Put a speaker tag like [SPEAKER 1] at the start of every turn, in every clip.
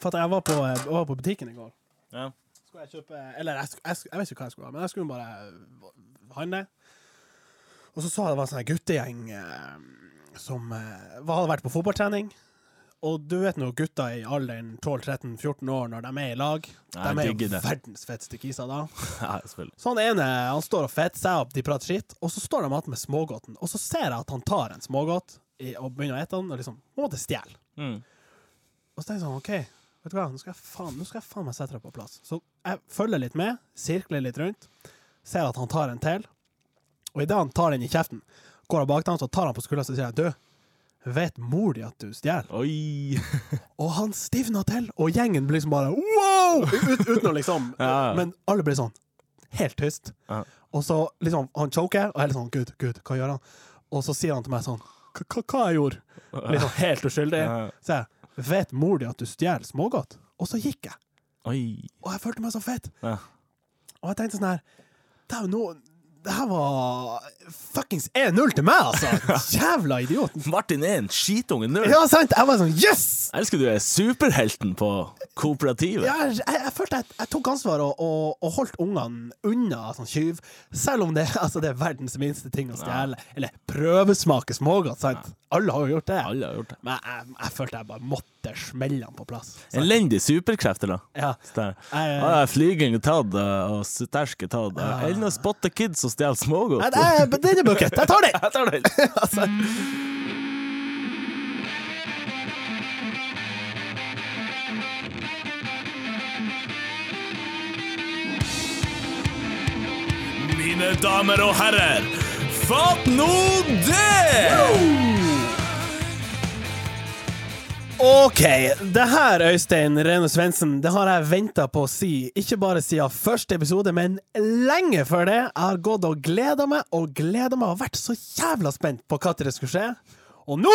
[SPEAKER 1] For at jeg var på, jeg var på butikken i går.
[SPEAKER 2] Ja.
[SPEAKER 1] Skulle jeg kjøpe Eller jeg, sk- jeg, sk- jeg vet ikke hva jeg skulle ha, men jeg skulle bare handle. Og så sa jeg det var en sånn her guttegjeng eh, som eh, var, hadde vært på fotballtrening. Og du vet nå gutta i alderen 12-13-14 år, når de er i lag
[SPEAKER 2] Jeg
[SPEAKER 1] De er
[SPEAKER 2] digger
[SPEAKER 1] jo
[SPEAKER 2] det.
[SPEAKER 1] verdens feteste kiser da.
[SPEAKER 2] Ja, selvfølgelig.
[SPEAKER 1] Så han ene han står og fetter seg opp, de prater skitt, og så står de igjen med smågodten. Og så ser jeg at han tar en smågodt i- og begynner å ete den, og liksom på en måte stjeler.
[SPEAKER 2] Mm.
[SPEAKER 1] Og så tenker jeg sånn, OK, vet du hva, nå skal jeg faen, nå skal jeg faen meg sette deg på plass. Så jeg følger litt med, sirkler litt rundt, ser at han tar en til, og idet han tar den i kjeften, går jeg bak til han, så tar han på skuldra og sier jeg, du, vet mor di at du stjeler?
[SPEAKER 2] Oi!
[SPEAKER 1] Og han stivna til, og gjengen blir liksom bare wow! Ut, uten å liksom
[SPEAKER 2] Ja.
[SPEAKER 1] Men alle blir sånn helt tyst.
[SPEAKER 2] Ja.
[SPEAKER 1] Og så liksom, han choker, og jeg er litt sånn Gud, gud, hva gjør han? Og så sier han til meg sånn «Hva- Hva hva jeg gjorde? Liksom helt uskyldig.
[SPEAKER 2] Ja.
[SPEAKER 1] Så jeg Vet mor di at du stjeler smågodt? Og så gikk jeg.
[SPEAKER 2] Oi!
[SPEAKER 1] Og jeg følte meg så fett.
[SPEAKER 2] Ja.
[SPEAKER 1] Og jeg tenkte sånn her Det er jo noe det her var fuckings 1-0 til meg, altså! Jævla idioten!
[SPEAKER 2] Martin er en skitunge nerd.
[SPEAKER 1] Ja, sant? Jeg var sånn Yes!
[SPEAKER 2] Jeg elsker du er superhelten på kooperativet.
[SPEAKER 1] Ja, jeg, jeg, jeg følte jeg, jeg tok ansvar og, og, og holdt ungene unna sånn tyv, selv om det, altså, det er verdens minste ting å stjele. Eller prøvesmake smågodt, sant? Alle har jo gjort det.
[SPEAKER 2] Alle har gjort det.
[SPEAKER 1] Men jeg, jeg følte jeg bare måtte smelle den på plass. Så,
[SPEAKER 2] Elendig superkrefter, da.
[SPEAKER 1] ja.
[SPEAKER 2] Der.
[SPEAKER 1] Jeg-
[SPEAKER 2] Ja, ja, flyging er tatt, eh, og stersk er tatt. Eh, Eller å spotte kids som stjeler smågodt.
[SPEAKER 1] Nei, det er- Den er eh, bucket. Jeg tar den!
[SPEAKER 2] Jeg tar den.
[SPEAKER 1] altså.
[SPEAKER 2] Mine damer og herrer, fatt nå det!
[SPEAKER 1] OK. Det her, Øystein Rene Svendsen, det har jeg venta på å si. Ikke bare siden første episode, men lenge før det. Jeg har gått og gleda meg og gleda meg og vært så jævla spent på hva det skulle skje. Og nå,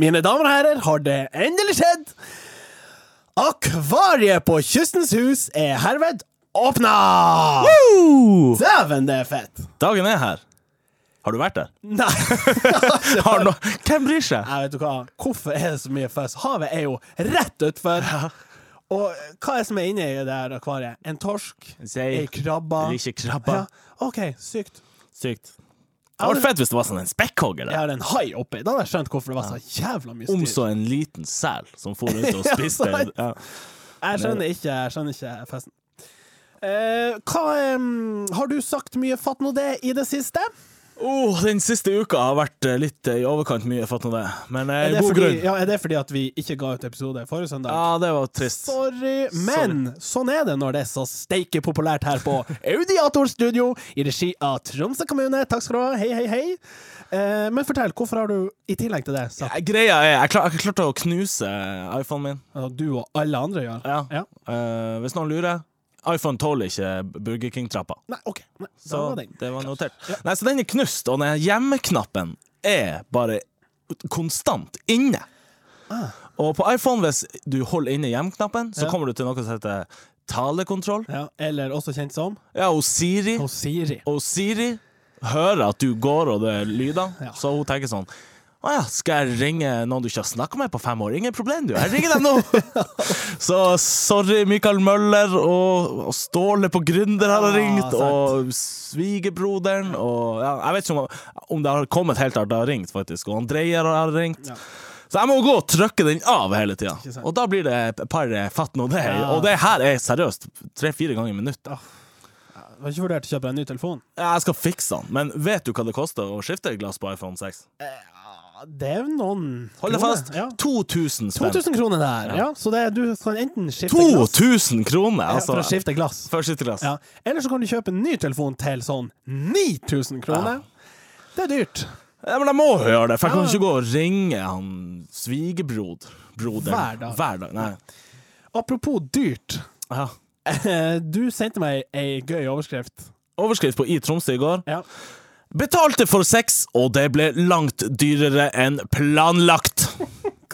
[SPEAKER 1] mine damer og herrer, har det endelig skjedd! Akvariet på Kystens Hus er herved åpna! Dæven, det er fett!
[SPEAKER 2] Dagen er her. Har du vært der?
[SPEAKER 1] Nei, altså,
[SPEAKER 2] Har no Hvem bryr seg?
[SPEAKER 1] Jeg vet du hva, hvorfor er det så mye føss? Havet er jo rett utfor. Og eh, hva er det som er inni det her akvariet? En torsk?
[SPEAKER 2] En sei.
[SPEAKER 1] Ei krabbe?
[SPEAKER 2] Eller ikke krabbe.
[SPEAKER 1] Ja. OK, sykt.
[SPEAKER 2] Sykt. Det hadde vært fett hvis det var sånn en spekkhogger
[SPEAKER 1] Jeg
[SPEAKER 2] der.
[SPEAKER 1] har en hai oppi. Da hadde jeg skjønt hvorfor det var så jævla mye
[SPEAKER 2] Om
[SPEAKER 1] styr.
[SPEAKER 2] så en liten sel som for rundt og
[SPEAKER 1] Ja,
[SPEAKER 2] spiste.
[SPEAKER 1] sant.
[SPEAKER 2] Ja.
[SPEAKER 1] Jeg skjønner ikke, jeg skjønner ikke festen. Eh, hva em, Har du sagt mye fatt nå det i det siste?
[SPEAKER 2] Oh, den siste uka har vært eh, litt eh, i overkant mye, fatt nå det. Men eh,
[SPEAKER 1] Er det,
[SPEAKER 2] god
[SPEAKER 1] fordi,
[SPEAKER 2] grunn. Ja.
[SPEAKER 1] ja, er det fordi at vi ikke ga ut episode forrige søndag?
[SPEAKER 2] det var trist.
[SPEAKER 1] Sorry, men sånn er det når det er så steike populært her på Audiator Studio i regi av Tromsø kommune. Takk skal du ha. Hei, hei, hei. Eh, men fortell, hvorfor har du i tillegg til det sagt
[SPEAKER 2] Eh, Greia er, jeg klar- jeg klarte å knuse eh, iPhonen min.
[SPEAKER 1] at du og alle andre gjør?
[SPEAKER 2] Ja.
[SPEAKER 1] Ja.
[SPEAKER 2] Eh, hvis noen lurer, iPhone tåler ikke Burger King-trappa.
[SPEAKER 1] Nei, OK. Nei, da
[SPEAKER 2] Så
[SPEAKER 1] var den.
[SPEAKER 2] det var notert. Nei, så den er knust, og den hjemmeknappen er bare konstant inne. Og på iPhone, hvis du holder inne hjemknappen,
[SPEAKER 1] Ah.
[SPEAKER 2] så
[SPEAKER 1] Ja.
[SPEAKER 2] kommer du til noe som heter talekontroll.
[SPEAKER 1] Ja, eller også kjent som
[SPEAKER 2] Ja, og Siri.
[SPEAKER 1] hos Siri.
[SPEAKER 2] Og Siri hører at du går og det er lyder,
[SPEAKER 1] Ja.
[SPEAKER 2] så hun tenker sånn å ja, skal jeg ringe noen du ikke har snakka med på fem år? Ingen problem, du. Jeg ringer dem nå! så sorry, Michael Møller og, og Ståle på Gründer har jeg
[SPEAKER 1] Ja,
[SPEAKER 2] ringt,
[SPEAKER 1] Ah, sant.
[SPEAKER 2] og svigerbroderen og ja, Jeg vet ikke om, om det har kommet helt til at det har ringt, faktisk. Og Andreyer har ringt.
[SPEAKER 1] Ja.
[SPEAKER 2] Så jeg må gå og trykke den av hele tida.
[SPEAKER 1] Ikke sant.
[SPEAKER 2] Og da blir det et par eh, fatt nå det.
[SPEAKER 1] Ja.
[SPEAKER 2] Og det her er seriøst tre-fire ganger i minuttet.
[SPEAKER 1] Jeg har ikke vurdert å kjøpe deg en ny telefon.
[SPEAKER 2] Jeg skal fikse den, men vet du hva det koster å skifte glass på iPhone 6?
[SPEAKER 1] Ja, Det er jo noen
[SPEAKER 2] Hold deg
[SPEAKER 1] kroner.
[SPEAKER 2] fast!
[SPEAKER 1] Ja.
[SPEAKER 2] 2000 spenn.
[SPEAKER 1] 2000 kroner der, ja. Så det, du kan enten skifte glass
[SPEAKER 2] 2000 kroner!
[SPEAKER 1] ja,
[SPEAKER 2] Altså,
[SPEAKER 1] For å skifte glass.
[SPEAKER 2] for å skifte glass.
[SPEAKER 1] Ja. Eller så kan du kjøpe en ny telefon til sånn 9000 kroner. Det er dyrt.
[SPEAKER 2] Ja, men jeg må jo gjøre det, for jeg kan
[SPEAKER 1] Ja.
[SPEAKER 2] ikke gå og ringe han svigerbrod broderen.
[SPEAKER 1] Hver dag.
[SPEAKER 2] Hver dag. Nei.
[SPEAKER 1] Apropos dyrt.
[SPEAKER 2] Ja.
[SPEAKER 1] Du sendte meg ei gøy overskrift.
[SPEAKER 2] Overskrift på I Tromsø i går.
[SPEAKER 1] Ja.
[SPEAKER 2] Betalte for sex, og det ble langt dyrere enn planlagt.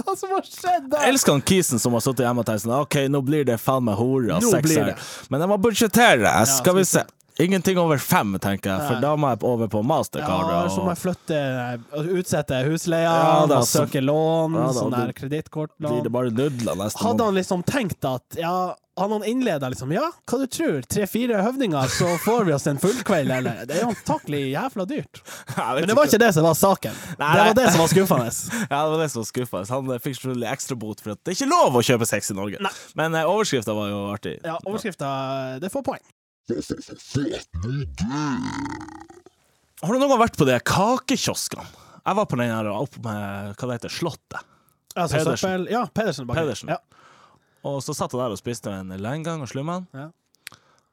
[SPEAKER 1] Hva som har skjedd
[SPEAKER 2] Jeg
[SPEAKER 1] der?
[SPEAKER 2] elsker han Kisen som har sittet hjemme og tenkt sånn OK, nå blir det faen meg hore og
[SPEAKER 1] Nå
[SPEAKER 2] sex
[SPEAKER 1] blir
[SPEAKER 2] her.
[SPEAKER 1] det.
[SPEAKER 2] Men jeg må budsjettere. Skal vi
[SPEAKER 1] skal
[SPEAKER 2] se. Ingenting over fem, tenker jeg, for
[SPEAKER 1] Nei.
[SPEAKER 2] da må jeg over på mastercard.
[SPEAKER 1] Ja, så må
[SPEAKER 2] og
[SPEAKER 1] jeg flytte Utsette husleia,
[SPEAKER 2] Ja, da,
[SPEAKER 1] må
[SPEAKER 2] så-
[SPEAKER 1] søke lån,
[SPEAKER 2] Ja, da,
[SPEAKER 1] sånn
[SPEAKER 2] du-
[SPEAKER 1] der
[SPEAKER 2] blir det
[SPEAKER 1] kredittkortlån.
[SPEAKER 2] bare nudler neste
[SPEAKER 1] Hadde
[SPEAKER 2] måned.
[SPEAKER 1] han liksom tenkt at ja, Hadde han innleda liksom Ja, hva du tror? Tre-fire høvdinger, så får vi oss en fullkveld, eller? Det er jo antakelig jævla dyrt.
[SPEAKER 2] Jeg vet
[SPEAKER 1] Men det var ikke det som var saken.
[SPEAKER 2] Nei,
[SPEAKER 1] Det
[SPEAKER 2] nei.
[SPEAKER 1] var det som var skuffende.
[SPEAKER 2] Ja, det var det som var skuffende. Han eh, fikk selvfølgelig ekstra bot for at det er ikke lov å kjøpe sex i Norge.
[SPEAKER 1] Nei.
[SPEAKER 2] Men eh, overskrifta var jo artig.
[SPEAKER 1] Ja, overskrifta Det får poeng.
[SPEAKER 2] Har du noen gang vært på de kakekioskene? Jeg var på den her oppe med hva det heter, Slottet.
[SPEAKER 1] Altså,
[SPEAKER 2] Pedersen.
[SPEAKER 1] søppel- Ja, Pedersen. bakker.
[SPEAKER 2] Pedersen.
[SPEAKER 1] Ja.
[SPEAKER 2] Og så satt jeg der og spiste en leingang og slummen.
[SPEAKER 1] Ja.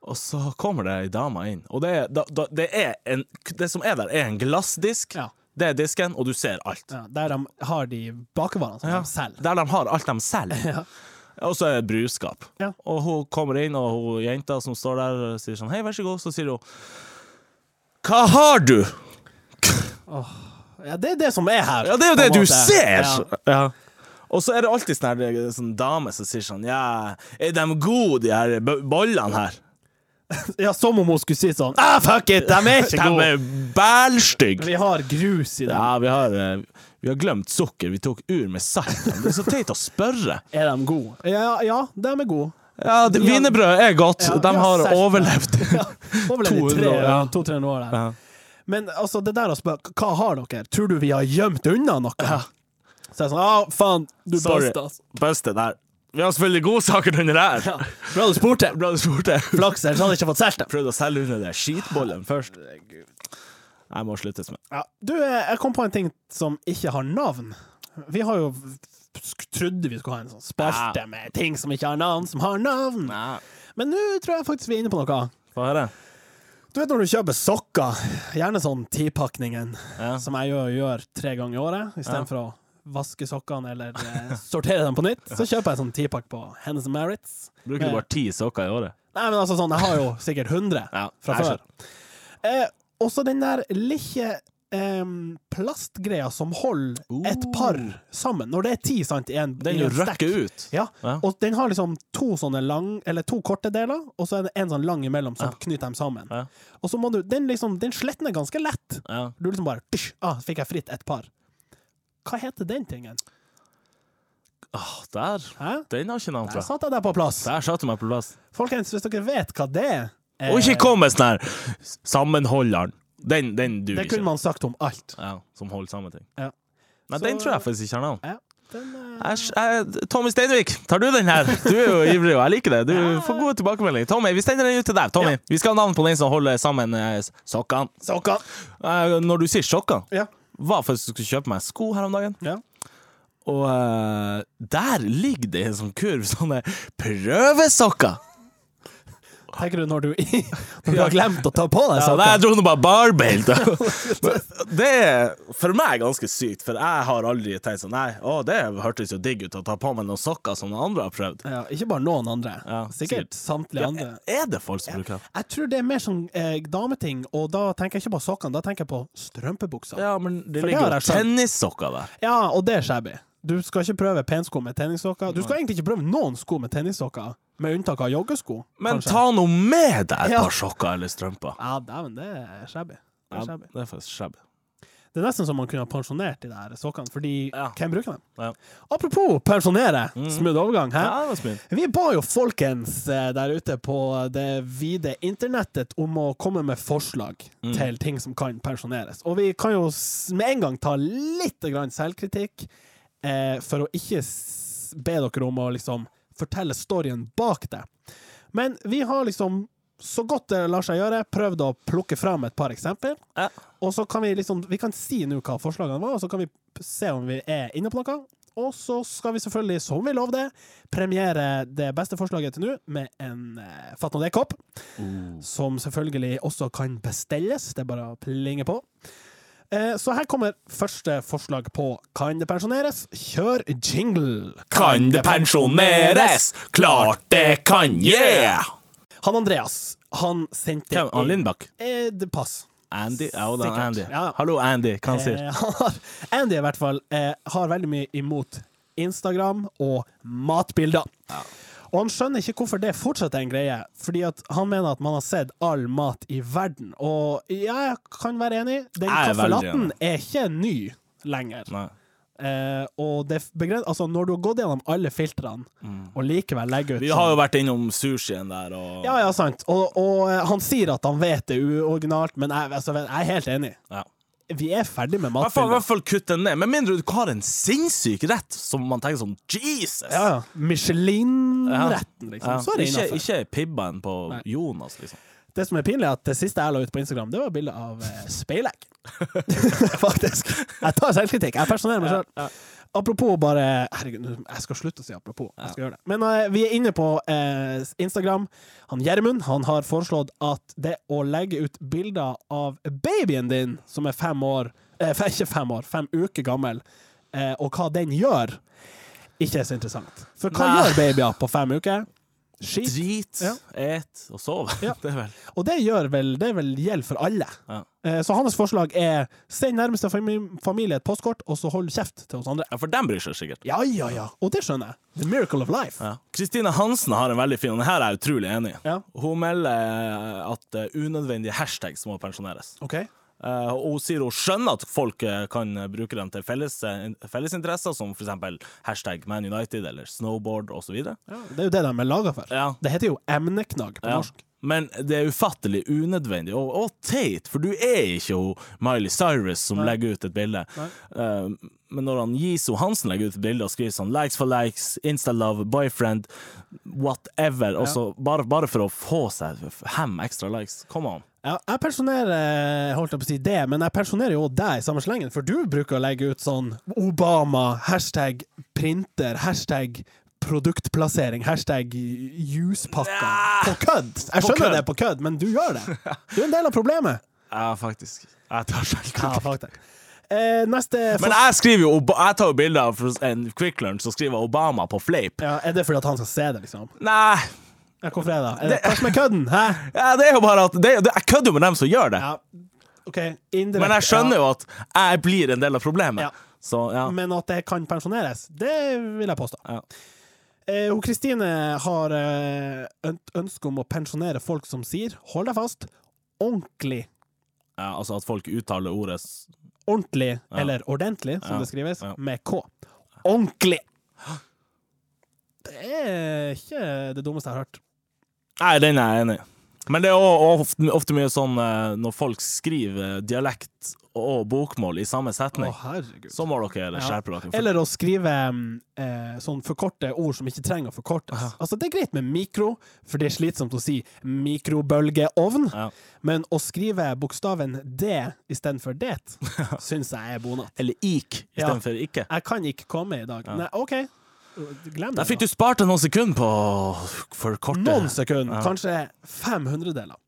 [SPEAKER 2] Og så kommer det ei dame inn. Og det, er, da, da, det, er en, det som er der, er en glassdisk.
[SPEAKER 1] Ja.
[SPEAKER 2] Det er disken, og du ser alt.
[SPEAKER 1] Ja, der de har de bakervarene som de selger.
[SPEAKER 2] Der de har alt de selger. Og så er det et brudskap.
[SPEAKER 1] Ja.
[SPEAKER 2] Og hun kommer inn, og hun jenta som står der, sier sånn Hei, vær så god. Så sier hun Hva har du?
[SPEAKER 1] Ja, det er det som er her.
[SPEAKER 2] Ja, det er jo
[SPEAKER 1] på
[SPEAKER 2] det
[SPEAKER 1] en
[SPEAKER 2] du
[SPEAKER 1] måte.
[SPEAKER 2] ser!
[SPEAKER 1] Ja.
[SPEAKER 2] Ja. Og så er det alltid sånn her, eh, sånn dame som sier sånn Ja, er de gode, de her bo- bollene her?
[SPEAKER 1] Ja, som om hun skulle si sånn Ah, fuck it, de er
[SPEAKER 2] De
[SPEAKER 1] ikke gode!
[SPEAKER 2] er bælstygge!
[SPEAKER 1] Vi har grus i dem.
[SPEAKER 2] Ja, vi har, eh, vi har glemt sukker. Vi tok ur med salt. Det er så teit å spørre.
[SPEAKER 1] Er de gode? Ja, ja de er gode.
[SPEAKER 2] Ja, det- Wienerbrød er godt.
[SPEAKER 1] Ja,
[SPEAKER 2] De
[SPEAKER 1] vi har
[SPEAKER 2] har
[SPEAKER 1] salt.
[SPEAKER 2] overlevd.
[SPEAKER 1] Overlevd i
[SPEAKER 2] 200 år, ja.
[SPEAKER 1] 200-300 år. Der.
[SPEAKER 2] Ja.
[SPEAKER 1] Men altså, det der å spørre Hva har dere? Tror du vi har gjemt unna noe? Så jeg er sånn ah, faen, du
[SPEAKER 2] Sorry.
[SPEAKER 1] basta, altså.
[SPEAKER 2] Beste der. Vi har selvfølgelig godsaker under her.
[SPEAKER 1] Bra du spurte.
[SPEAKER 2] Bra du spurte.
[SPEAKER 1] Flaks, ellers hadde jeg ikke fått solgt dem.
[SPEAKER 2] Prøvde å selge under den skitbollen først. Jeg må sluttes med.
[SPEAKER 1] Ja. Du, eh, jeg kom på en ting som ikke har navn. Vi har jo sk- trodde vi skulle ha en sånn spalte
[SPEAKER 2] Ja.
[SPEAKER 1] med ting som ikke har navn, som har navn. Men nå tror jeg faktisk vi er inne på noe.
[SPEAKER 2] Få høre.
[SPEAKER 1] Du vet når du kjøper sokker, gjerne sånn tipakningen,
[SPEAKER 2] Ja.
[SPEAKER 1] som jeg gjør, gjør tre ganger i året, istedenfor for å vaske sokkene eller eh, sortere dem på nytt, så kjøper jeg sånn tipakk på Hennes Marits.
[SPEAKER 2] Bruker du bare ti sokker i året?
[SPEAKER 1] Nei, men altså sånn, jeg har jo sikkert 100
[SPEAKER 2] Ja,
[SPEAKER 1] fra
[SPEAKER 2] jeg
[SPEAKER 1] før. Eh, og så den der lille em, plastgreia som holder et par sammen, når det er ti, sant, i en,
[SPEAKER 2] Uh. Den
[SPEAKER 1] i
[SPEAKER 2] jo
[SPEAKER 1] en stekk.
[SPEAKER 2] røkker ut.
[SPEAKER 1] Ja.
[SPEAKER 2] Ja.
[SPEAKER 1] og den har liksom to sånne lang, eller to korte deler, og så er det en sånn lang imellom som knytter dem sammen.
[SPEAKER 2] Ja.
[SPEAKER 1] Og så må du, den liksom, den slettner ganske lett.
[SPEAKER 2] Ja.
[SPEAKER 1] Du liksom bare, tysj, ah, fikk jeg fritt et par. Hva heter den tingen?
[SPEAKER 2] Åh, der.
[SPEAKER 1] Hæ?
[SPEAKER 2] Den har ikke navn,
[SPEAKER 1] Der
[SPEAKER 2] tror jeg.
[SPEAKER 1] satt jeg der på plass.
[SPEAKER 2] Der satte du meg på plass.
[SPEAKER 1] Folkens, hvis dere vet hva det er,
[SPEAKER 2] Og
[SPEAKER 1] eh,
[SPEAKER 2] ikke kom med sånn her sammenholderen. Den, den du
[SPEAKER 1] det
[SPEAKER 2] ikke.
[SPEAKER 1] kunne man sagt om alt.
[SPEAKER 2] Ja, som holder sammen ting.
[SPEAKER 1] Ja.
[SPEAKER 2] Nei,
[SPEAKER 1] Så-
[SPEAKER 2] den tror jeg faktisk ikke har navn.
[SPEAKER 1] Ja, den, eh,
[SPEAKER 2] Æsj, eh, Tommy Steinvik, tar du den her? Du er jo ivrig, og jeg liker det. Du får gode tilbakemeldinger. Tommy, vi sender den ut til deg. Tommy, Vi skal ha navn på den som holder sammen eh, s- sokkene.
[SPEAKER 1] Sokker.
[SPEAKER 2] Eh, når du sier sokker,
[SPEAKER 1] Ja.
[SPEAKER 2] var faktisk jeg skulle kjøpe meg sko her om dagen.
[SPEAKER 1] ja.
[SPEAKER 2] Og eh, der ligger det en sånn kurv sånne prøvesokker.
[SPEAKER 1] Tenker du når du, når du har glemt å ta på deg
[SPEAKER 2] Ja, nei,
[SPEAKER 1] sokker?
[SPEAKER 2] jeg dro nå bare barbeint. det er for meg ganske sykt, for jeg har aldri tenkt sånn Nei, å, det hørtes jo digg ut å ta på meg noen sokker som noen andre har prøvd.
[SPEAKER 1] Ja, ikke bare noen andre.
[SPEAKER 2] Ja,
[SPEAKER 1] Sikkert samtlige andre.
[SPEAKER 2] Er det folk som bruker det?
[SPEAKER 1] Jeg tror det er mer sånn eh, dameting, og da tenker jeg ikke på sokkene, da tenker jeg på strømpebuksa. Ja.
[SPEAKER 2] Ja, men det
[SPEAKER 1] For det
[SPEAKER 2] ligger
[SPEAKER 1] har
[SPEAKER 2] jo
[SPEAKER 1] jeg skjønt.
[SPEAKER 2] tennissokker der.
[SPEAKER 1] og det er shabby. Du skal ikke prøve pensko med tennissokker. Du skal egentlig ikke prøve noen sko med tennissokker, med unntak av joggesko.
[SPEAKER 2] Men
[SPEAKER 1] kanskje.
[SPEAKER 2] ta nå med deg et
[SPEAKER 1] Ja.
[SPEAKER 2] par sokker eller strømper.
[SPEAKER 1] Ja, dæven, det er shabby. Det er,
[SPEAKER 2] Ja,
[SPEAKER 1] shabby.
[SPEAKER 2] det er faktisk shabby.
[SPEAKER 1] det er nesten som man kunne ha pensjonert de der sokkene, fordi
[SPEAKER 2] Ja.
[SPEAKER 1] hvem bruker dem?
[SPEAKER 2] Ja. Mm.
[SPEAKER 1] Apropos pensjonere, smooth overgang, hæ?
[SPEAKER 2] Ja, det var smil.
[SPEAKER 1] Vi ba jo folkens eh, der ute på det vide internettet om å komme med forslag til ting som kan pensjoneres. Og vi kan jo s- med en gang ta litt grann selvkritikk eh, for å ikke s- be dere om å liksom fortelle storyen bak det. Men vi har liksom, så godt det lar seg gjøre, prøvd å plukke fram et par eksempler.
[SPEAKER 2] Ja.
[SPEAKER 1] Og så kan vi liksom Vi kan si nå hva forslagene var, og så kan vi p- se om vi er inne på noe. Og så skal vi selvfølgelig, som vi lovde, premiere det beste forslaget til nå med en eh, Fatt nå det-kopp. Som selvfølgelig også kan bestilles. Det er bare å plinge på. Eh, så her kommer første forslag på Kan det pensjoneres? Kjør jingle!
[SPEAKER 2] Kan det pensjoneres? Klart det kan, yeah!
[SPEAKER 1] Han Andreas, han sendte
[SPEAKER 2] Hvem? Han
[SPEAKER 1] inn-
[SPEAKER 2] Lindbakk?
[SPEAKER 1] Eh, det pass.
[SPEAKER 2] Andy? Ja, og den
[SPEAKER 1] Sikkert.
[SPEAKER 2] Andy.
[SPEAKER 1] Ja.
[SPEAKER 2] Hallo, Andy. Hva han sier
[SPEAKER 1] Eh, han har, Andy i hvert fall eh, har veldig mye imot Instagram og matbilder. Og han skjønner ikke hvorfor det fortsatt er en greie, fordi at han mener at man har sett all mat i verden. Og ja, jeg kan være enig, den
[SPEAKER 2] Jeg er veldig
[SPEAKER 1] kaffelatten er ikke ny lenger.
[SPEAKER 2] Nei.
[SPEAKER 1] Eh, og det begren- altså, når du har gått gjennom alle filtrene, og likevel legger ut
[SPEAKER 2] Mm.
[SPEAKER 1] sånn-
[SPEAKER 2] Vi har jo vært innom sushien der, og
[SPEAKER 1] Ja, ja, sant. Og, og eh, han sier at han vet det er uoriginalt, men jeg, altså, jeg er helt enig.
[SPEAKER 2] Ja.
[SPEAKER 1] Vi er ferdig med
[SPEAKER 2] I hvert fall, i
[SPEAKER 1] matfilmer.
[SPEAKER 2] hvert fall kutt den ned. Med mindre du har en sinnssyk rett som man tenker sånn Jesus!
[SPEAKER 1] Ja, ja. Michelin-retten,
[SPEAKER 2] Ja.
[SPEAKER 1] liksom. Så er det
[SPEAKER 2] ikke,
[SPEAKER 1] innafor.
[SPEAKER 2] ikke pibbaen på Jonas, liksom.
[SPEAKER 1] Det som er pinlig, er at det siste jeg la ut på Instagram, det var et bilde av eh, speilegg. Faktisk. Jeg tar selvkritikk. Jeg personerer meg sjøl. Apropos bare Herregud, nå- jeg skal slutte å si apropos. Jeg skal gjøre det. Men eh, vi er inne på eh, Instagram. Han Gjermund han har foreslått at det å legge ut bilder av babyen din, som er fem år eh, fe- Ikke fem år, fem uker gammel, eh, og hva den gjør, ikke er så interessant. For hva
[SPEAKER 2] Nei.
[SPEAKER 1] gjør babyer på fem uker? Skit.
[SPEAKER 2] Drit,
[SPEAKER 1] Ja.
[SPEAKER 2] et og sove.
[SPEAKER 1] Ja.
[SPEAKER 2] Det er vel
[SPEAKER 1] Og det gjør vel, det vel gjelder for alle.
[SPEAKER 2] ja.
[SPEAKER 1] Eh, Så hans forslag er send nærmeste fami- familie et postkort, og så hold kjeft til oss andre.
[SPEAKER 2] ja, for dem bryr seg sikkert.
[SPEAKER 1] Ja, ja, ja. Og det skjønner jeg. The miracle of life.
[SPEAKER 2] Ja. Kristine Hansen har en veldig fin, og den her er jeg utrolig enig i.
[SPEAKER 1] Ja.
[SPEAKER 2] Hun melder at eh, unødvendige hashtags må pensjoneres.
[SPEAKER 1] OK.
[SPEAKER 2] Eh, og hun sier hun skjønner at folk eh, kan bruke dem til felles, fellesinteresser, som f.eks. hashtag Man United eller snowboard osv.
[SPEAKER 1] Ja, det er jo det de er laga for.
[SPEAKER 2] Ja.
[SPEAKER 1] Det heter jo emneknagg på
[SPEAKER 2] Ja.
[SPEAKER 1] norsk.
[SPEAKER 2] Men det er ufattelig unødvendig og, og teit, for du er ikke hun Miley Cyrus som legger ut et bilde. Eh, men når han Jiso Hansen legger ut et bilde og skriver sånn likes for likes, insta-love, boyfriend, whatever, og så bare, bare for å få seg hem ekstra likes. Come on.
[SPEAKER 1] Ja, jeg personerer eh, holdt jeg på å si det, men jeg personerer jo deg i samme slengen, for du bruker å legge ut sånn Obama, hashtag printer, hashtag produktplassering, hashtag juspakker. På kødd! Jeg skjønner
[SPEAKER 2] kødd.
[SPEAKER 1] det er på kødd, men du gjør det. Du er en del av problemet.
[SPEAKER 2] Ja, faktisk. Jeg tar
[SPEAKER 1] Ja,
[SPEAKER 2] selvkritikk.
[SPEAKER 1] faktisk. Eh, neste for...
[SPEAKER 2] Men jeg skriver jo Ob- Jeg tar jo bilder av en Quick Lunch og skriver Obama på fleip.
[SPEAKER 1] ja, Er det fordi at han skal se det, liksom?
[SPEAKER 2] Nei,
[SPEAKER 1] Ja, hvorfor er det? Er det hva som er kødden? Hæ?
[SPEAKER 2] ja, det er jo bare at det, er- det, Jeg kødder jo med dem som gjør det,
[SPEAKER 1] Ja, OK, indirekte.
[SPEAKER 2] men jeg skjønner
[SPEAKER 1] ja.
[SPEAKER 2] jo at jeg blir en del av problemet.
[SPEAKER 1] Ja.
[SPEAKER 2] Så ja.
[SPEAKER 1] Men at det kan pensjoneres, det vil jeg påstå.
[SPEAKER 2] Ja.
[SPEAKER 1] Eh, hun Kristine har eh, ønt- ønske om å pensjonere folk som sier, hold deg fast, ordentlig.
[SPEAKER 2] Ja, altså at folk uttaler ordet s-
[SPEAKER 1] Ordentlig, eller ordentlig, som det skrives,
[SPEAKER 2] Ja.
[SPEAKER 1] med K. Ordentlig! Det er ikke det dummeste jeg har hørt.
[SPEAKER 2] Nei, den er jeg enig i. Men det er også ofte, ofte mye sånn eh, når folk skriver eh, dialekt og bokmål i samme setning,
[SPEAKER 1] Å, herregud.
[SPEAKER 2] så må dere
[SPEAKER 1] Ja.
[SPEAKER 2] eh, skjerpe dere.
[SPEAKER 1] Eller å skrive mm, eh, sånn forkorte ord som ikke trenger å forkortes. Altså, det er greit med mikro, for det er slitsomt å si mikrobølgeovn,
[SPEAKER 2] Ja.
[SPEAKER 1] men å skrive bokstaven D istedenfor det, syns jeg er bonat.
[SPEAKER 2] Eller ik
[SPEAKER 1] Ja.
[SPEAKER 2] istedenfor ikke.
[SPEAKER 1] Jeg kan ikke komme i dag. Nei, OK, glem
[SPEAKER 2] Der
[SPEAKER 1] det.
[SPEAKER 2] fikk
[SPEAKER 1] da.
[SPEAKER 2] du spart deg noen sekunder på å forkorte.
[SPEAKER 1] Noen sekunder, kanskje 500 deler.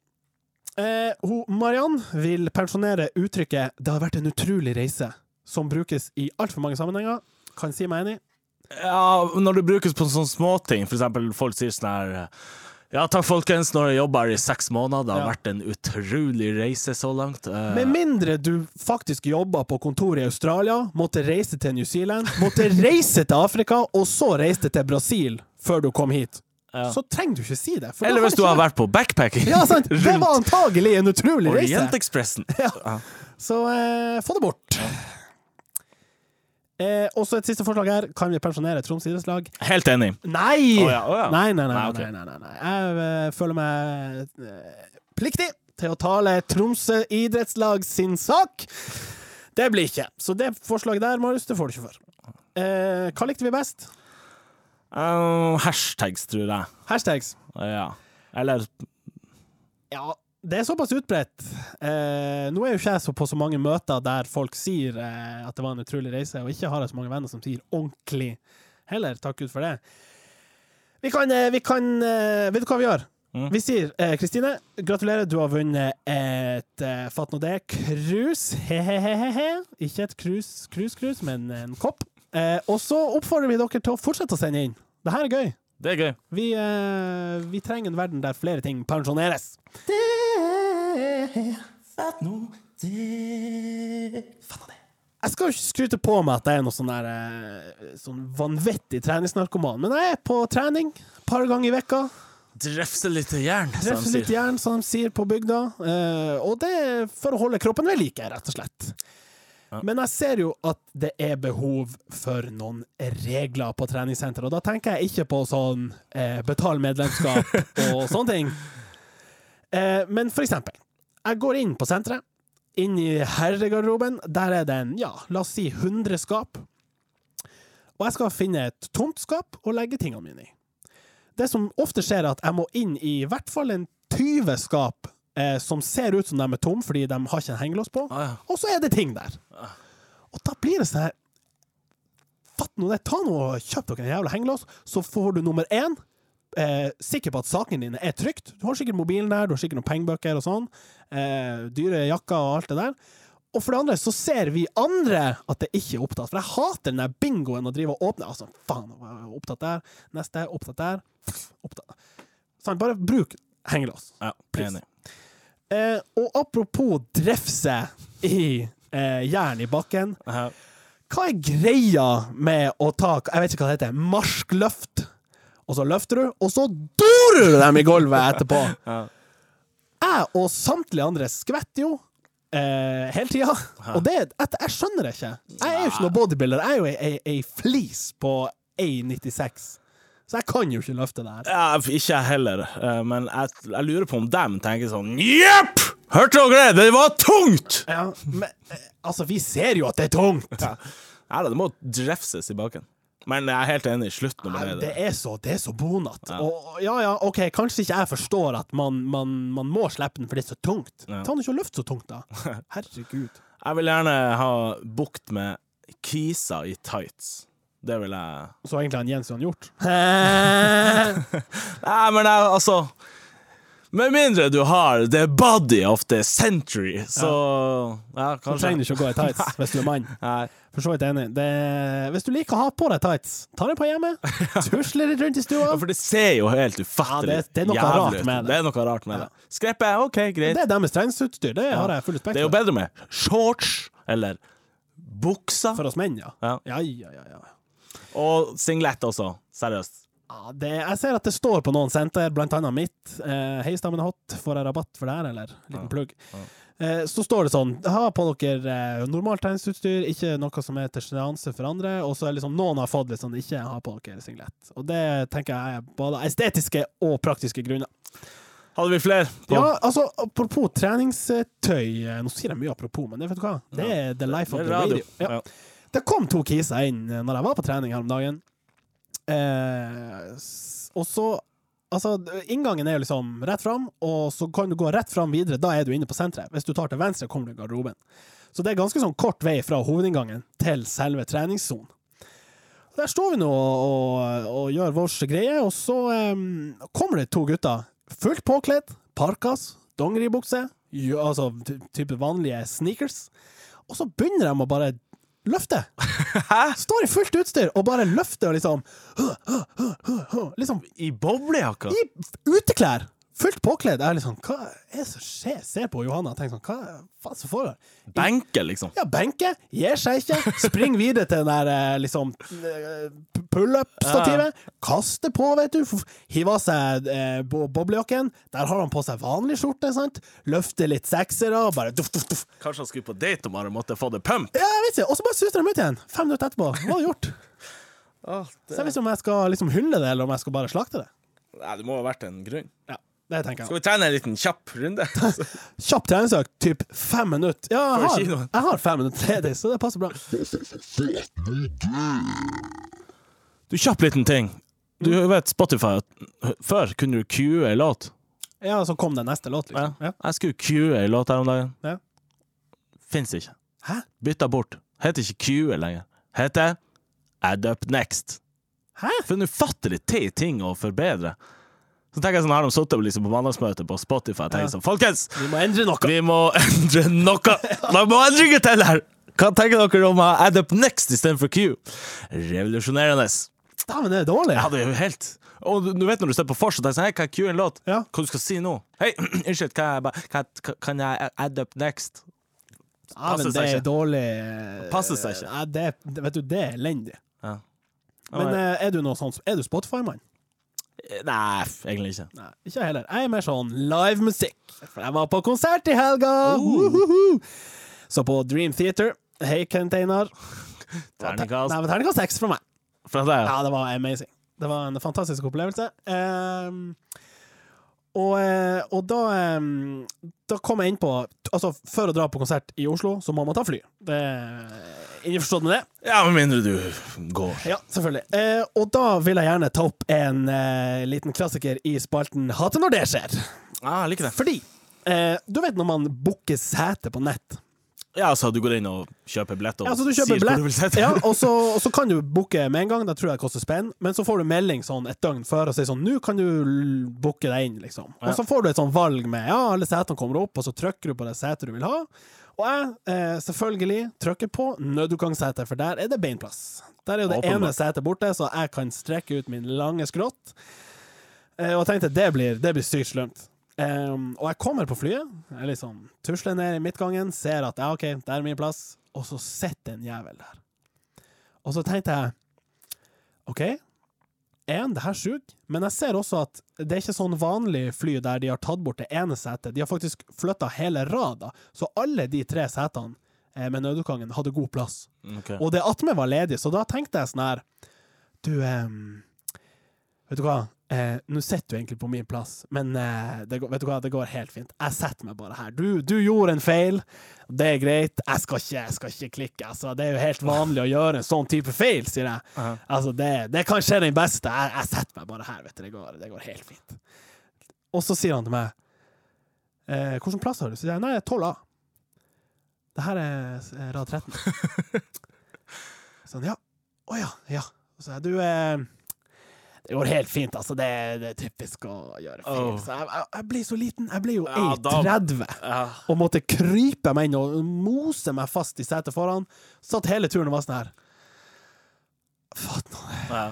[SPEAKER 1] Eh, hun, Mariann vil pensjonere uttrykket 'det har vært en utrolig reise', som brukes i altfor mange sammenhenger. Kan si meg enig.
[SPEAKER 2] Ja, når det brukes på sånne småting, for eksempel folk sier sånn her Ja, takk folkens, nå har jeg jobba her i seks måneder, det har
[SPEAKER 1] Ja.
[SPEAKER 2] vært en utrolig reise så langt. Eh,
[SPEAKER 1] Med mindre du faktisk jobba på kontor i Australia, måtte reise til New Zealand, måtte reise til Afrika, og så reiste til Brasil før du kom hit,
[SPEAKER 2] Ja.
[SPEAKER 1] så trenger du ikke si det. for da
[SPEAKER 2] eller hvis
[SPEAKER 1] ikke
[SPEAKER 2] du har
[SPEAKER 1] vært-
[SPEAKER 2] vært på backpacking
[SPEAKER 1] Ja, sant! Det var antagelig en utrolig reise.
[SPEAKER 2] Orientekspressen.
[SPEAKER 1] Så eh, få det bort. Eh, også et siste forslag her. Kan vi pensjonere Troms idrettslag?
[SPEAKER 2] Helt enig.
[SPEAKER 1] Nei!
[SPEAKER 2] Å ja, å ja.
[SPEAKER 1] Nei, nei, nei,
[SPEAKER 2] Nei, ok.
[SPEAKER 1] nei, nei, nei, nei. Jeg eh, føler meg eh, pliktig til å tale Tromsø idrettslag sin sak. Det blir ikke. Så det forslaget der, Marius, det får du ikke for. Eh, hva likte vi best?
[SPEAKER 2] Eh, hashtags, tror jeg.
[SPEAKER 1] Hashtags.
[SPEAKER 2] Ja. Eller
[SPEAKER 1] Ja, det er såpass utbredt. Eh, nå er jo ikke jeg så på så mange møter der folk sier eh, at det var en utrolig reise, og ikke har jeg så mange venner som sier ordentlig heller. Takk Gud for det. Vi kan, eh, vi kan eh, Vet du hva vi gjør?
[SPEAKER 2] Mm.
[SPEAKER 1] Vi sier eh, Kristine, gratulerer, du har vunnet et eh, Fatt nå det cruise. He-he-he-he. Ikke et cruise, cruise, cruise, men en kopp. Eh, og så oppfordrer vi dere til å fortsette å sende inn. Det her er gøy.
[SPEAKER 2] Det er gøy.
[SPEAKER 1] Vi, eh, vi trenger en verden der flere ting pensjoneres.
[SPEAKER 2] Fatt nå det Fatt nå det.
[SPEAKER 1] Jeg skal jo ikke skryte på meg at jeg er noe sånn der eh, Sånn vanvittig treningsnarkoman, men jeg er på trening et par ganger i vekka.
[SPEAKER 2] Drefse litt jern, som
[SPEAKER 1] Treffer
[SPEAKER 2] de
[SPEAKER 1] litt
[SPEAKER 2] sier.
[SPEAKER 1] jern, som de sier på bygda. eh, og det er for å holde kroppen ved like, rett og slett.
[SPEAKER 2] Ja.
[SPEAKER 1] Men jeg ser jo at det er behov for noen regler på treningssenter, og da tenker jeg ikke på sånn eh, betal medlemskap og sånne ting. Eh, men for eksempel, jeg går inn på senteret, inn i herregarderoben, der er det en, ja, la oss si 100 skap, og jeg skal finne et tomt skap og legge tingene mine i det som ofte skjer, er at jeg må inn i i hvert fall en 20 skap eh, som ser ut som de er tom fordi de har ikke en hengelås på,
[SPEAKER 2] Ah, ja.
[SPEAKER 1] og så er det ting der. Og da blir det sånn her Fatt nå det, ta nå og kjøp dere en jævla hengelås, så får du nummer én. Eh, sikker på at sakene dine er trygt. Du har sikkert mobilen der, du har sikkert noen pengebøker og sånn. Eh, dyre jakker og alt det der. Og for det andre så ser vi andre at det ikke er opptatt. For jeg hater den der bingoen å drive og åpne. Altså, faen, nå var jeg opptatt der. Neste, opptatt der. Opptatt. Sånn, bare bruk hengelås.
[SPEAKER 2] Ja,
[SPEAKER 1] Please.
[SPEAKER 2] enig.
[SPEAKER 1] Eh, og apropos drefse i eh, jern i bakken.
[SPEAKER 2] Ja.
[SPEAKER 1] Hva er greia med å ta Jeg vet ikke hva det heter. Marskløft. Og så løfter du, og så dor du dem i gulvet etterpå.
[SPEAKER 2] Ja.
[SPEAKER 1] Jeg og samtlige andre skvetter jo eh, hele tida. Og det jeg, jeg skjønner det ikke. Jeg er jo ikke noen bodybuilder. Jeg er jo ei, ei, ei flis på 1,96. Så jeg kan jo ikke løfte det her.
[SPEAKER 2] Ja, ikke jeg heller, eh, men jeg, jeg lurer på om dem tenker sånn Jepp! Hørte dere det? Det var tungt!
[SPEAKER 1] Ja, men eh, altså, vi ser jo at det er tungt.
[SPEAKER 2] Nei da, det må drefses i baken. Men jeg er helt enig i slutten.
[SPEAKER 1] Nei,
[SPEAKER 2] Nei,
[SPEAKER 1] men det er så, det er så bonat. Og, og ja ja, OK, kanskje ikke jeg forstår at man, man, man må slippe den, for det er så tungt.
[SPEAKER 2] Ja.
[SPEAKER 1] Ta den ikke og løft så tungt, da. Herregud.
[SPEAKER 2] Jeg vil gjerne ha bukt med kisa i tights. Det vil jeg
[SPEAKER 1] Så egentlig har Jens jo han gjort. Hæ?
[SPEAKER 2] Nei, men jeg, altså Med mindre du har the body of the century, så Ja,
[SPEAKER 1] Du
[SPEAKER 2] kanskje.
[SPEAKER 1] trenger ikke å gå i tights hvis du er mann.
[SPEAKER 2] Nei.
[SPEAKER 1] For så vidt enig. Det, hvis du liker å ha på deg tights, ta det på hjemme. Tusle litt rundt i stua.
[SPEAKER 2] Ja, for det ser jo helt
[SPEAKER 1] Ja,
[SPEAKER 2] ufattelig
[SPEAKER 1] det- det er noe
[SPEAKER 2] jævlig
[SPEAKER 1] rart
[SPEAKER 2] ut.
[SPEAKER 1] med det.
[SPEAKER 2] Det er noe rart med det. Skreppe, OK, greit.
[SPEAKER 1] Det er deres treningsutstyr, det har jeg full respekt
[SPEAKER 2] Det er jo bedre med shorts eller bukser.
[SPEAKER 1] For oss menn, ja.
[SPEAKER 2] Ja.
[SPEAKER 1] Ja, ja, ja. ja.
[SPEAKER 2] Og singlet også. Seriøst.
[SPEAKER 1] Ja, det, jeg ser at det står på noen senter, blant annet mitt. Eh, Hei, stammen er hot, får jeg rabatt for det her, eller? Liten plugg. Eh, så står det sånn, ha på dere eh, normalt treningsutstyr, ikke noe som er til sjenanse for andre, og så er liksom noen har fått litt sånn, ikke ha på dere singlet. Og det tenker jeg er både estetiske og praktiske grunner.
[SPEAKER 2] Hadde vi flere? på?
[SPEAKER 1] Ja, altså, apropos treningstøy eh, Nå sier jeg mye apropos, men det vet du hva? Det er the life of
[SPEAKER 2] Det er
[SPEAKER 1] the radio. Ja.
[SPEAKER 2] Ja.
[SPEAKER 1] Det kom to kiser inn eh, når jeg var på trening her om dagen. Eh, s- og så Altså, inngangen er jo liksom rett fram, og så kan du gå rett fram videre. Da er du inne på senteret. Hvis du tar til venstre, kommer du i garderoben. Så det er ganske sånn kort vei fra hovedinngangen til selve treningssonen. Der står vi nå og, og, og gjør vår greie, og så em, kommer det to gutter. Fullt påkledd, parkas, dongeribukse, jo- altså ty- type vanlige sneakers. Og så begynner de å bare løfte. Står i fullt utstyr og bare løfter og liksom Liksom
[SPEAKER 2] I boblejakka?
[SPEAKER 1] i uteklær! Fullt påkledd. Jeg er liksom, hva er det som skjer? Ser på Johanna og tenker sånn, hva faen som foregår?
[SPEAKER 2] Benke, liksom.
[SPEAKER 1] Ja, benke, gir seg ikke, spring videre til den der eh, liksom eh, pullup-stativet, kaster på, vet du, f- hiver av seg eh, bo- boblejakken, der har han på seg vanlig skjorte, sant, løfter litt seksere og bare duff, duff, duff.
[SPEAKER 2] Kanskje han skulle på date og bare måtte få det pump?
[SPEAKER 1] Ja, jeg vet ikke, og så bare suser de ut igjen, fem minutter etterpå, hva har du gjort? Så jeg vet ikke om jeg skal liksom hylle det, eller om jeg skal bare slakte det.
[SPEAKER 2] Nei, det må ha vært en grunn.
[SPEAKER 1] Ja, det tenker jeg.
[SPEAKER 2] Skal vi trene en liten kjapp runde? Altså.
[SPEAKER 1] Kjapp treningsøkt, typ fem minutter. Ja, jeg
[SPEAKER 2] Før
[SPEAKER 1] har,
[SPEAKER 2] kinoen.
[SPEAKER 1] jeg har fem minutter ledig, så det passer bra.
[SPEAKER 2] Du, kjapp liten ting. Du vet Spotify at før kunne du cue ei låt.
[SPEAKER 1] Ja, så kom den neste låt, liksom. Ja.
[SPEAKER 2] Jeg skulle cue ei låt her om dagen.
[SPEAKER 1] Ja.
[SPEAKER 2] Fins ikke.
[SPEAKER 1] Hæ?
[SPEAKER 2] Bytta bort. Heter ikke cue lenger. Heter Add Up Next.
[SPEAKER 1] Hæ?
[SPEAKER 2] For en ufattelig teit ting å forbedre. Så tenker jeg sånn, har de sittet liksom på mandagsmøtet på Spotify og tenker sånn Folkens!
[SPEAKER 1] Vi må endre noe.
[SPEAKER 2] Vi må endre noe! Det må endringer til her! Hva tenker dere om å ha add up next istedenfor Q? Revolusjonerende.
[SPEAKER 1] Dæven, det er dårlig.
[SPEAKER 2] Ja, det er jo helt Og du, du vet når du står på vors og tenker sånn, hei, hva er Q en låt?
[SPEAKER 1] Ja.
[SPEAKER 2] Hva du skal si nå? Hei, unnskyld, kan jeg, bare- kan, kan jeg add up next?
[SPEAKER 1] Ja, men
[SPEAKER 2] Passer
[SPEAKER 1] det
[SPEAKER 2] seg
[SPEAKER 1] er
[SPEAKER 2] ikke.
[SPEAKER 1] dårlig eh,
[SPEAKER 2] Passer seg ikke.
[SPEAKER 1] Ja, det, det- vet du, det er elendig.
[SPEAKER 2] Ja.
[SPEAKER 1] Men
[SPEAKER 2] Nei,
[SPEAKER 1] eh, er du noe sånn Er du Spotify-mann?
[SPEAKER 2] Nei, f- egentlig ikke.
[SPEAKER 1] Nei, ikke jeg heller. Jeg er mer sånn live musikk. For jeg var på konsert i helga!
[SPEAKER 2] Oh.
[SPEAKER 1] Woohoo! Så på Dream Theater. Hei, Kent Einar.
[SPEAKER 2] Terningkast
[SPEAKER 1] Nei, men Terningkast seks fra meg.
[SPEAKER 2] fra deg, ja.
[SPEAKER 1] Ja, det var amazing. Det var en fantastisk opplevelse. Ehm, og, eh, og da ehm, Da kom jeg inn på Altså, for å dra på konsert i Oslo, så må man ta fly. Det er Innforstått med det?
[SPEAKER 2] Ja, med mindre du går.
[SPEAKER 1] Ja, selvfølgelig. Eh, og da vil jeg gjerne ta opp en eh, liten klassiker i spalten Hate når det skjer.
[SPEAKER 2] Ja,
[SPEAKER 1] Ah,
[SPEAKER 2] jeg liker det.
[SPEAKER 1] Fordi eh, du vet når man booker sete på nett
[SPEAKER 2] Ja, så du går inn og kjøper billett og
[SPEAKER 1] Ja, så du kjøper
[SPEAKER 2] sier hvor du vil
[SPEAKER 1] billett,
[SPEAKER 2] sette
[SPEAKER 1] ja,
[SPEAKER 2] deg?
[SPEAKER 1] og, så, og så kan du booke med en gang, det tror jeg koster spenn, men så får du melding sånn et døgn før og sier sånn 'Nå kan du l- booke deg inn', liksom.
[SPEAKER 2] Ja.
[SPEAKER 1] Og så får du et sånn valg med ja, alle setene kommer opp, og så trykker du på det setet du vil ha. Og jeg, eh, selvfølgelig, trykker på nødutgangssete, for der er det beinplass. Der er jo det
[SPEAKER 2] Åpenbart.
[SPEAKER 1] ene setet borte, så jeg kan strekke ut min lange skrått. Eh, Og jeg tenkte det blir, det blir sykt slemt. Ehm, og jeg kommer på flyet, jeg liksom tusler ned i midtgangen, ser at ja, OK, der er min plass, og så sitter en jævel der. Og så tenkte jeg OK, én, det her suger, men jeg ser også at det er ikke sånn vanlig fly der de har tatt bort det ene setet, de har faktisk flytta hele rada, så alle de tre setene eh, med nødutgangen hadde god plass.
[SPEAKER 2] Ok.
[SPEAKER 1] Og det attmed var ledig, så da tenkte jeg sånn her Du, em, vet du hva? Eh, Nå sitter du egentlig på min plass, men eh, det, går- vet du hva? det går helt fint. Jeg setter meg bare her. Du, du gjorde en feil, det er greit. Jeg skal ikke, jeg skal ikke klikke. Altså, det er jo helt vanlig å gjøre en sånn type feil, sier jeg.
[SPEAKER 2] Ja.
[SPEAKER 1] Altså, det, det kan skje den beste. Jeg, jeg setter meg bare her, vet du. Det går, det går helt fint. Og så sier han til meg eh, Hvilken plass har du? Så sier jeg nei, 12A. Det her er eh, rad 13. Sånn, ja. Å ja, ja. Og Så er du eh, Det går helt fint, altså. Det, er- det er typisk å gjøre feil.
[SPEAKER 2] Åh.
[SPEAKER 1] Så jeg, jeg, jeg ble så liten. Jeg ble jo
[SPEAKER 2] Ja, da-
[SPEAKER 1] 1,30
[SPEAKER 2] Ja.
[SPEAKER 1] og måtte krype meg inn og mose meg fast i setet foran. Satt hele turen og var sånn her. Fatt nå det.
[SPEAKER 2] Ja.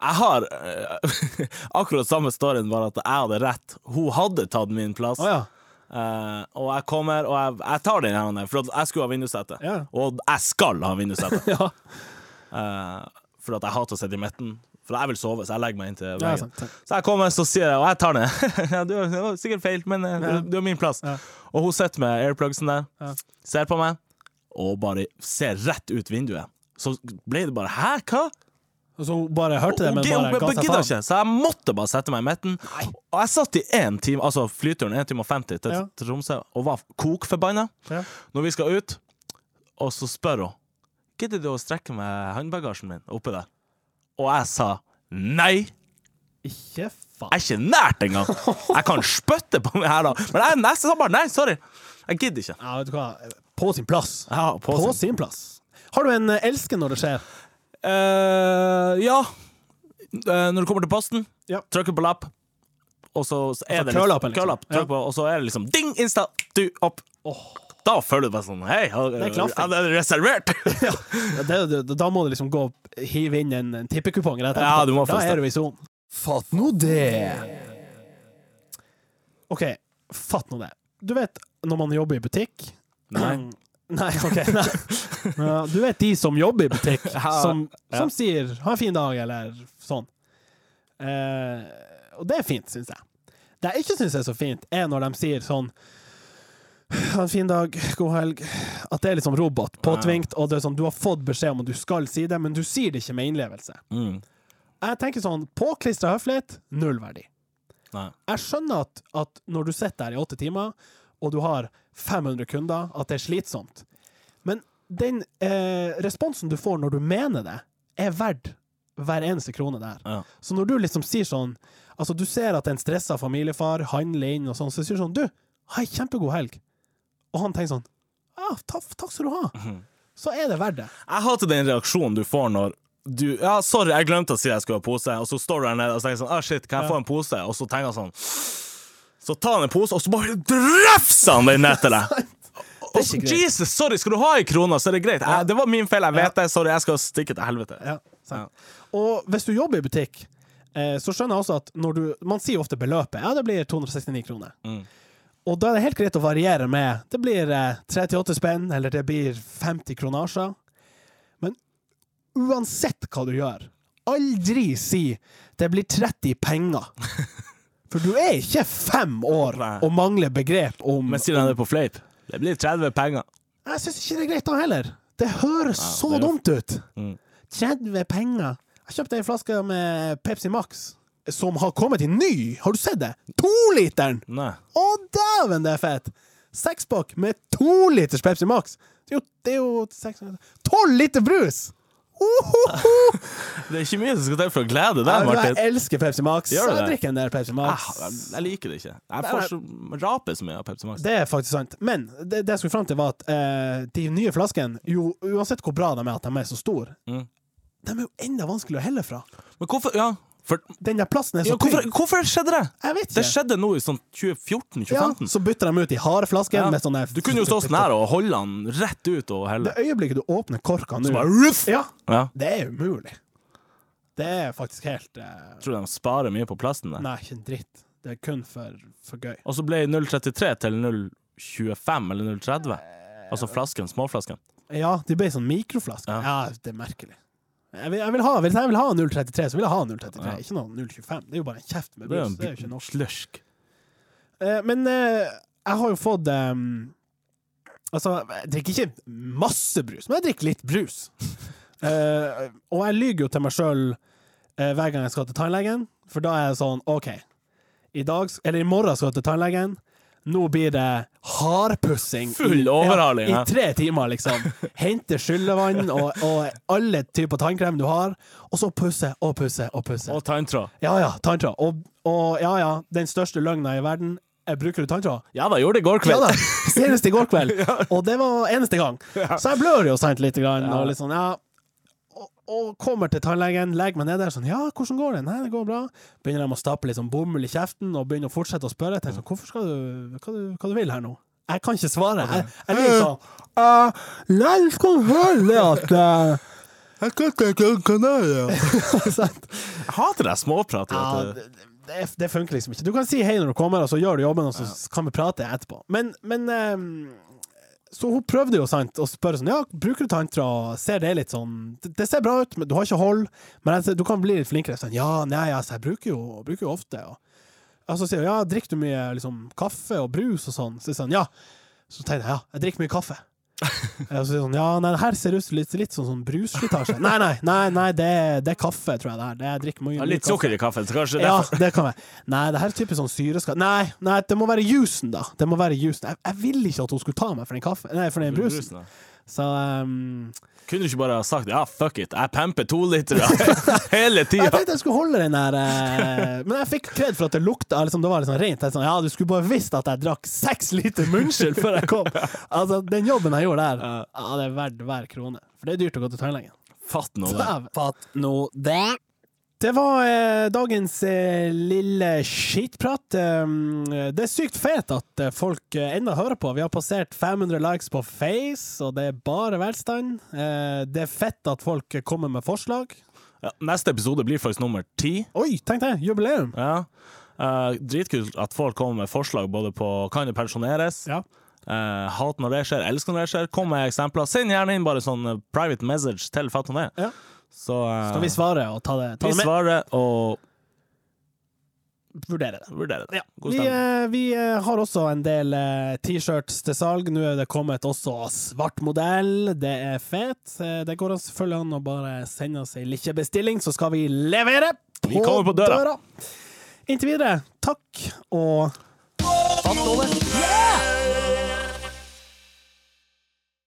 [SPEAKER 2] Jeg har eh, akkurat samme storyen, bare at jeg hadde rett. Hun hadde tatt min plass.
[SPEAKER 1] Å ja.
[SPEAKER 2] Eh, og jeg kommer, og jeg, jeg tar den her, for at jeg skulle ha vindussete.
[SPEAKER 1] Ja.
[SPEAKER 2] Og jeg skal ha vindussete.
[SPEAKER 1] Ja,
[SPEAKER 2] Eh, for at jeg hater å sitte i midten. For jeg vil sove, så jeg legger meg inntil
[SPEAKER 1] ja sånn,
[SPEAKER 2] veggen.
[SPEAKER 1] sant. sant.
[SPEAKER 2] Så jeg kommer, så sier jeg, og jeg tar den. ja, du det var sikkert feil, men eh,
[SPEAKER 1] Ja.
[SPEAKER 2] du, du har min plass.
[SPEAKER 1] Ja.
[SPEAKER 2] Og hun sitter med airplugsen der,
[SPEAKER 1] Ja.
[SPEAKER 2] ser på meg, og bare ser rett ut vinduet. Så ble det bare Hæ, hva?
[SPEAKER 1] Og så hun bare hørte det, men
[SPEAKER 2] Hun- hun-
[SPEAKER 1] bare altså. ga
[SPEAKER 2] hun
[SPEAKER 1] seg
[SPEAKER 2] gidder
[SPEAKER 1] faen.
[SPEAKER 2] ikke, så jeg måtte bare sette meg i midten. Og jeg satt i én time, altså flyturen, én time og 50 til
[SPEAKER 1] Ja.
[SPEAKER 2] til Tromsø, og var kokforbanna.
[SPEAKER 1] Ja.
[SPEAKER 2] Når vi skal ut, og så spør hun Gidder du å strekke med håndbagasjen min oppe der? Og jeg sa nei.
[SPEAKER 1] Ikke faen.
[SPEAKER 2] Jeg er ikke nært engang. Jeg kan spytte på meg her, da. Men jeg er nesten sånn bare Nei, sorry. Jeg gidder ikke.
[SPEAKER 1] Ja, vet du hva. På sin plass.
[SPEAKER 2] Ja, på
[SPEAKER 1] På
[SPEAKER 2] sin-
[SPEAKER 1] sin plass. Har du en eh, elsker når det skjer?
[SPEAKER 2] Eh, ja. Eh, når du kommer til posten,
[SPEAKER 1] Ja.
[SPEAKER 2] trykker på lapp, og så er det
[SPEAKER 1] curl-upen, liksom.
[SPEAKER 2] curl-up, trykk på, og så er det liksom ding, insta, du, opp. Da føler du bare sånn Hei, har-
[SPEAKER 1] Det er klaffing.
[SPEAKER 2] er det reservert?
[SPEAKER 1] Ja, det, det, da må du liksom gå og hive inn en, en tippekupong. rett
[SPEAKER 2] Ja,
[SPEAKER 1] etterpå.
[SPEAKER 2] du må
[SPEAKER 1] da
[SPEAKER 2] faktisk
[SPEAKER 1] er du i sonen. Fatt nå det! OK, fatt nå det. Du vet når man jobber i butikk
[SPEAKER 2] Nei.
[SPEAKER 1] Nei, OK. Nei. Ja, Du vet de som jobber i butikk,
[SPEAKER 2] Ja,
[SPEAKER 1] som,
[SPEAKER 2] ja.
[SPEAKER 1] som sier 'ha en fin dag', eller sånn. Eh, og det er fint, syns jeg. Det jeg ikke syns er så fint, er når de sier sånn ha en fin dag, god helg. At det er liksom robot, påtvingt, og det er sånn, du har fått beskjed om at du skal si det, men du sier det ikke med innlevelse.
[SPEAKER 2] Mm.
[SPEAKER 1] Jeg tenker sånn, påklistra høflighet, null verdi.
[SPEAKER 2] Nei.
[SPEAKER 1] Jeg skjønner at, at når du sitter der i åtte timer, og du har 500 kunder, at det er slitsomt. Men den eh, responsen du får når du mener det, er verdt hver eneste krone der.
[SPEAKER 2] Ja.
[SPEAKER 1] Så når du liksom sier sånn Altså, du ser at en stressa familiefar handler inn og sånn, så sier du sånn Du, ha ei kjempegod helg. Og han tenker sånn Ja, takk, takk skal du ha. Så er det verdt det.
[SPEAKER 2] Jeg hater den reaksjonen du får når du Ja, sorry, jeg glemte å si jeg skulle ha pose, og så står du der nede og så tenker jeg sånn ah, shit, kan jeg få en pose? Og så tenker jeg sånn Så tar han en pose, og så bare drafser han den ned til deg! Og
[SPEAKER 1] er
[SPEAKER 2] så,
[SPEAKER 1] ikke greit.
[SPEAKER 2] Jesus, sorry, skal du ha ei krone, så er det greit. Jeg, det var min feil, jeg vet det. Sorry, jeg skal stikke til helvete.
[SPEAKER 1] Ja, sant. Og hvis du jobber i butikk,
[SPEAKER 2] Mm.
[SPEAKER 1] eh, så skjønner jeg også at når du Man sier ofte beløpet. Ja, det blir 269 kroner. Og da er det helt greit å variere med. Det blir eh, 38 spenn, eller det blir 50 kronasjer. Men uansett hva du gjør, aldri si 'det blir 30 penger'. For du er ikke fem år
[SPEAKER 2] Nei.
[SPEAKER 1] og mangler begrep om
[SPEAKER 2] Men sier han det på fleip? Det blir 30 penger.
[SPEAKER 1] Jeg syns ikke det er greit, da heller. Det høres så
[SPEAKER 2] det er jo-
[SPEAKER 1] dumt ut.
[SPEAKER 2] Mm.
[SPEAKER 1] 30 penger. Jeg kjøpte ei flaske med Pepsi Max, som har kommet i ny. Har du sett det? Toliteren!
[SPEAKER 2] Nei.
[SPEAKER 1] Å, dæven, det er fett! Sekspakk med to liters Pepsi Max. Det er jo, det er jo seks, tolv liter brus! Ohoho!
[SPEAKER 2] Det er ikke mye som skal til for å glede deg,
[SPEAKER 1] Jeg,
[SPEAKER 2] Martin.
[SPEAKER 1] jeg elsker Pepsi Max.
[SPEAKER 2] Gjør du
[SPEAKER 1] Jeg
[SPEAKER 2] det?
[SPEAKER 1] drikker en del Pepsi
[SPEAKER 2] Ah,
[SPEAKER 1] Max.
[SPEAKER 2] Jeg jeg liker det ikke. Jeg får så rape så mye av Pepsi Max.
[SPEAKER 1] Det er faktisk sant. Men det, det jeg skulle fram til, var at eh, de nye flaskene, jo, uansett hvor bra de er, at de er så store,
[SPEAKER 2] Mm.
[SPEAKER 1] de er jo enda vanskeligere å helle fra.
[SPEAKER 2] Men hvorfor Ja, for,
[SPEAKER 1] Den der plasten er
[SPEAKER 2] ja
[SPEAKER 1] så
[SPEAKER 2] hvorfor,
[SPEAKER 1] tynn.
[SPEAKER 2] hvorfor skjedde det?
[SPEAKER 1] Jeg vet
[SPEAKER 2] Det
[SPEAKER 1] ikke.
[SPEAKER 2] skjedde nå i sånn
[SPEAKER 1] Ja,
[SPEAKER 2] 2014-2015.
[SPEAKER 1] så bytter de ut i harde flasker
[SPEAKER 2] Ja.
[SPEAKER 1] med sånne
[SPEAKER 2] Du kunne jo stå sånn her og holde han rett ut og helle.
[SPEAKER 1] Det øyeblikket du åpner korka nå
[SPEAKER 2] Så bare ruff!
[SPEAKER 1] Ja,
[SPEAKER 2] Ja.
[SPEAKER 1] det er umulig. Det er faktisk helt eh,
[SPEAKER 2] Tror du de sparer mye på plasten der?
[SPEAKER 1] Nei, ikke en dritt. Det er kun for, for gøy.
[SPEAKER 2] Og så ble 033 til 025 eller 030. Altså flasken, småflasken.
[SPEAKER 1] Ja, de ble sånn mikroflasker.
[SPEAKER 2] Ja.
[SPEAKER 1] Ja, det er merkelig. Jeg vil, jeg vil ha, hvis jeg vil ha 033, så vil jeg ha 033,
[SPEAKER 2] Ja.
[SPEAKER 1] ikke noe 025. Det er jo bare en kjeft med
[SPEAKER 2] Det er jo
[SPEAKER 1] brus.
[SPEAKER 2] en
[SPEAKER 1] Det er jo ikke
[SPEAKER 2] bl-
[SPEAKER 1] norsk.
[SPEAKER 2] slørsk.
[SPEAKER 1] Eh, men eh, jeg har jo fått ehm, Altså, jeg drikker ikke masse brus, men jeg drikker litt brus. Eh, og jeg lyver jo til meg sjøl hver gang jeg skal til tannlegen, for da er jeg sånn OK, i dag, s- eller i morgen skal jeg til tannlegen. Nå blir det hardpussing. i-
[SPEAKER 2] Full overhaling,
[SPEAKER 1] Ja,
[SPEAKER 2] ja.
[SPEAKER 1] I tre timer, liksom. Hente skyllevann og, og alle typer tannkrem du har, og så pusse og pusse og pusse.
[SPEAKER 2] Og tanntråd.
[SPEAKER 1] Ja ja, tanntråd. Og, og ja ja, den største løgna i verden. Eh, Bruker du tanntråd?
[SPEAKER 2] Ja da, gjorde det i går
[SPEAKER 1] Ja
[SPEAKER 2] kveld.
[SPEAKER 1] da, senest i går kveld. Og det var eneste gang. Så jeg blør jo sant lite grann. Og, litt sånn, ja. og, og kommer til tannlegen, legger meg ned der sånn Ja, hvordan går det? Nei, det går bra. Begynner de å stappe litt sånn bomull i kjeften og begynner å fortsette å spørre. Jeg tenker sånn, hvorfor skal du hva, du hva du vil her nå? Jeg kan ikke svare. Jeg, jeg ligger sånn uh, Nei, du skal høre at eh,
[SPEAKER 2] Jeg kan ikke
[SPEAKER 1] Sant?
[SPEAKER 2] Jeg hater det småpratet.
[SPEAKER 1] Ja,
[SPEAKER 2] at det-
[SPEAKER 1] det, det, det funker liksom ikke. Du kan si hei når du kommer, og så gjør du jobben, og så kan vi prate etterpå. Men, men ehm, Så hun prøvde jo, sant, å spørre sånn Ja, bruker du tanntråd? Ser det litt sånn Det, det ser bra ut, men du har ikke hold. Men jeg, sier, du kan bli litt flinkere. Sånn, ja, nei, altså, jeg bruker jo, bruker jo ofte. Og, og så sier hun ja, drikker du mye liksom, kaffe og brus og sånn? Så sier hun ja. Så tenkte jeg ja, jeg drikker mye kaffe. Og så sier hun sånn, ja, nei, det her ser ut som litt, litt sånn, sånn brusslitasje. Nei, nei, nei, nei det, det er kaffe, tror jeg det er. Det, jeg drikker mye,
[SPEAKER 2] Ja,
[SPEAKER 1] mye
[SPEAKER 2] litt
[SPEAKER 1] kaffe.
[SPEAKER 2] sukker i kaffen, så kanskje det
[SPEAKER 1] Ja,
[SPEAKER 2] er
[SPEAKER 1] det kan være. Nei, det her er typisk sånn syreskade Nei, nei, det må være jusen, da. Det må være jusen. Jeg, jeg ville ikke at hun skulle ta meg for den kaffen Nei, for den
[SPEAKER 2] derfor-
[SPEAKER 1] brusen.
[SPEAKER 2] brusen, ja.
[SPEAKER 1] Så ehm,
[SPEAKER 2] Kunne du ikke bare ha sagt ja, fuck it, jeg pamper to liter hele tida?
[SPEAKER 1] Jeg tenkte jeg skulle holde den der eh, Men jeg fikk kred for at det lukta liksom, Det var litt sånn rent. Jeg sånn, ja, du skulle bare visst at jeg drakk seks liter munnskyld før jeg kom. Altså, den jobben jeg gjorde der, ja, det er verdt hver krone. For det er dyrt å gå til tannlegen.
[SPEAKER 2] Fatt nå det.
[SPEAKER 1] Dæven. Det var eh, dagens eh, lille skitprat. Um, det er sykt fett at eh, folk eh, ennå hører på. Vi har passert 500 likes på Face, og det er bare velstand. Eh, det er fett at folk eh, kommer med forslag.
[SPEAKER 2] Ja, neste episode blir faktisk nummer ti.
[SPEAKER 1] Oi, tenk det! Jubileum!
[SPEAKER 2] Ja. Eh, dritkult at folk kommer med forslag både på kan det pensjoneres,
[SPEAKER 1] Ja.
[SPEAKER 2] eh, hat når det skjer, elsk når det skjer. Kom med eksempler. Send gjerne inn bare sånn eh, private message til Fatone.
[SPEAKER 1] Ja.
[SPEAKER 2] Så eh,
[SPEAKER 1] Skal vi svare og ta det, ta
[SPEAKER 2] vi
[SPEAKER 1] det med?
[SPEAKER 2] svarer og
[SPEAKER 1] Vurdere det.
[SPEAKER 2] vurderer det. God
[SPEAKER 1] Vi,
[SPEAKER 2] stemning.
[SPEAKER 1] eh, vi eh, har også en del eh, T-shirts til salg. Nå er det kommet også svart modell. Det er fet. Eh, det går an selvfølgelig an å bare sende oss ei lille bestilling, så skal vi levere
[SPEAKER 2] Vi kommer på døra.
[SPEAKER 1] Inntil videre, takk og
[SPEAKER 2] Fatt nå det. Yeah!